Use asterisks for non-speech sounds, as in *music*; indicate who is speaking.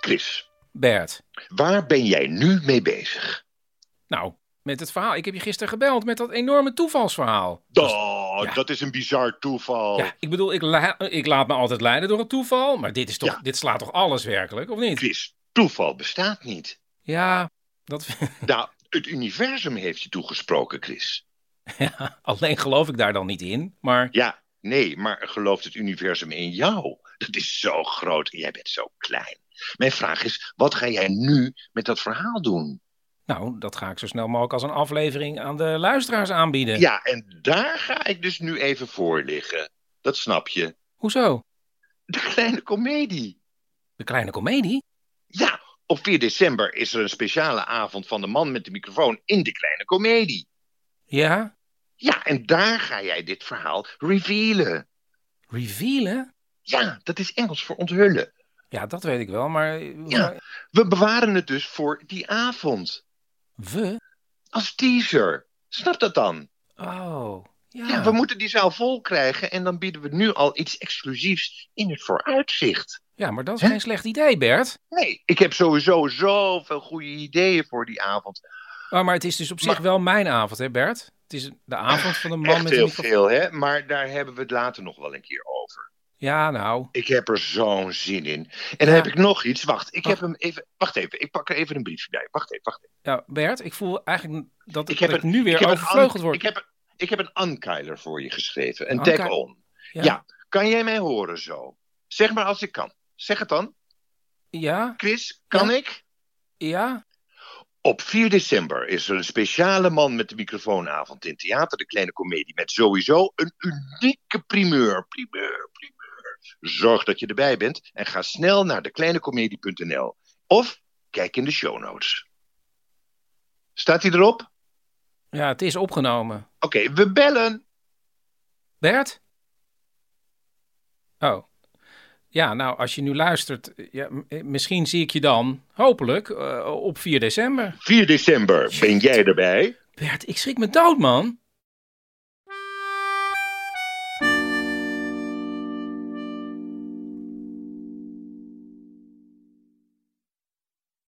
Speaker 1: Chris,
Speaker 2: Bert.
Speaker 1: waar ben jij nu mee bezig?
Speaker 2: Nou, met het verhaal. Ik heb je gisteren gebeld met dat enorme toevalsverhaal.
Speaker 1: Oh,
Speaker 2: ja.
Speaker 1: dat is een bizar toeval.
Speaker 2: Ja, ik bedoel, ik, la- ik laat me altijd leiden door het toeval. Maar dit, is toch,
Speaker 1: Ja.
Speaker 2: dit slaat toch alles werkelijk, of niet?
Speaker 1: Chris, toeval bestaat niet.
Speaker 2: Ja, dat, *laughs*
Speaker 1: Nou, het universum heeft je toegesproken, Chris.
Speaker 2: ja, nou, alleen geloof ik daar dan niet in. Maar
Speaker 1: Ja, nee, maar gelooft het universum in jou? Dat is zo groot en jij bent zo klein. Mijn vraag is, wat ga jij nu met dat verhaal doen?
Speaker 2: nou, dat ga ik zo snel mogelijk als een aflevering aan de luisteraars aanbieden.
Speaker 1: Ja, en daar ga ik dus nu even voor liggen. Dat snap je.
Speaker 2: Hoezo?
Speaker 1: De kleine komedie.
Speaker 2: De kleine komedie?
Speaker 1: Ja, op 4 december is er een speciale avond van de man met de microfoon in de kleine komedie.
Speaker 2: Ja,
Speaker 1: Ja, en daar ga jij dit verhaal revealen.
Speaker 2: revealen?
Speaker 1: Ja, dat is Engels voor onthullen.
Speaker 2: Ja, dat weet ik wel, maar
Speaker 1: Ja. We bewaren het dus voor die avond.
Speaker 2: we?
Speaker 1: Als teaser. Snap dat dan?
Speaker 2: Oh, ja.
Speaker 1: Ja, we moeten die zaal vol krijgen en dan bieden we nu al iets exclusiefs in het vooruitzicht.
Speaker 2: Ja, maar dat is
Speaker 1: Hè?
Speaker 2: geen slecht idee, Bert.
Speaker 1: Nee, ik heb sowieso zoveel goede ideeën voor die avond.
Speaker 2: Oh, maar het is dus op zich
Speaker 1: Maar-
Speaker 2: wel mijn avond, hè Bert? Het is de avond van de man
Speaker 1: Echt
Speaker 2: met de
Speaker 1: heel
Speaker 2: microfoon.
Speaker 1: veel, hè? Maar daar hebben we het later nog wel een keer over.
Speaker 2: Ja, nou.
Speaker 1: Ik heb er zo'n zin in. En dan
Speaker 2: Ja.
Speaker 1: heb ik nog iets. Wacht, ik
Speaker 2: Wacht.
Speaker 1: heb hem even. Wacht even, ik pak er even een briefje bij. Wacht even, wacht even.
Speaker 2: Ja, Bert, ik voel eigenlijk dat ik,
Speaker 1: Ik heb
Speaker 2: dat ik
Speaker 1: een-
Speaker 2: nu weer
Speaker 1: Ik heb een
Speaker 2: overvleugeld
Speaker 1: an-
Speaker 2: word.
Speaker 1: Ik heb, een- ik heb een Ankyler voor je geschreven. Een
Speaker 2: Anky-
Speaker 1: tag-on.
Speaker 2: Ja.
Speaker 1: Ja. Kan jij mij horen zo? Zeg maar als ik kan. Zeg het dan.
Speaker 2: Ja,
Speaker 1: Chris, kan
Speaker 2: Ja.
Speaker 1: ik?
Speaker 2: ja.
Speaker 1: Op 4 december is er een speciale man met de microfoonavond in Theater de Kleine Comedie. Met sowieso een unieke primeur. Primeur, primeur. Zorg dat je erbij bent en ga snel naar dekleinecomedie.nl. Of kijk in de show notes. Staat hij erop? Oké,
Speaker 2: Ja, het is opgenomen.
Speaker 1: we bellen.
Speaker 2: Bert? Oh. Ja, nou, als je nu luistert, ja, m- eh, misschien zie ik je dan, hopelijk, eh, op 4 december.
Speaker 1: 4 december, ben jij erbij?
Speaker 2: Bert, ik schrik me dood, man.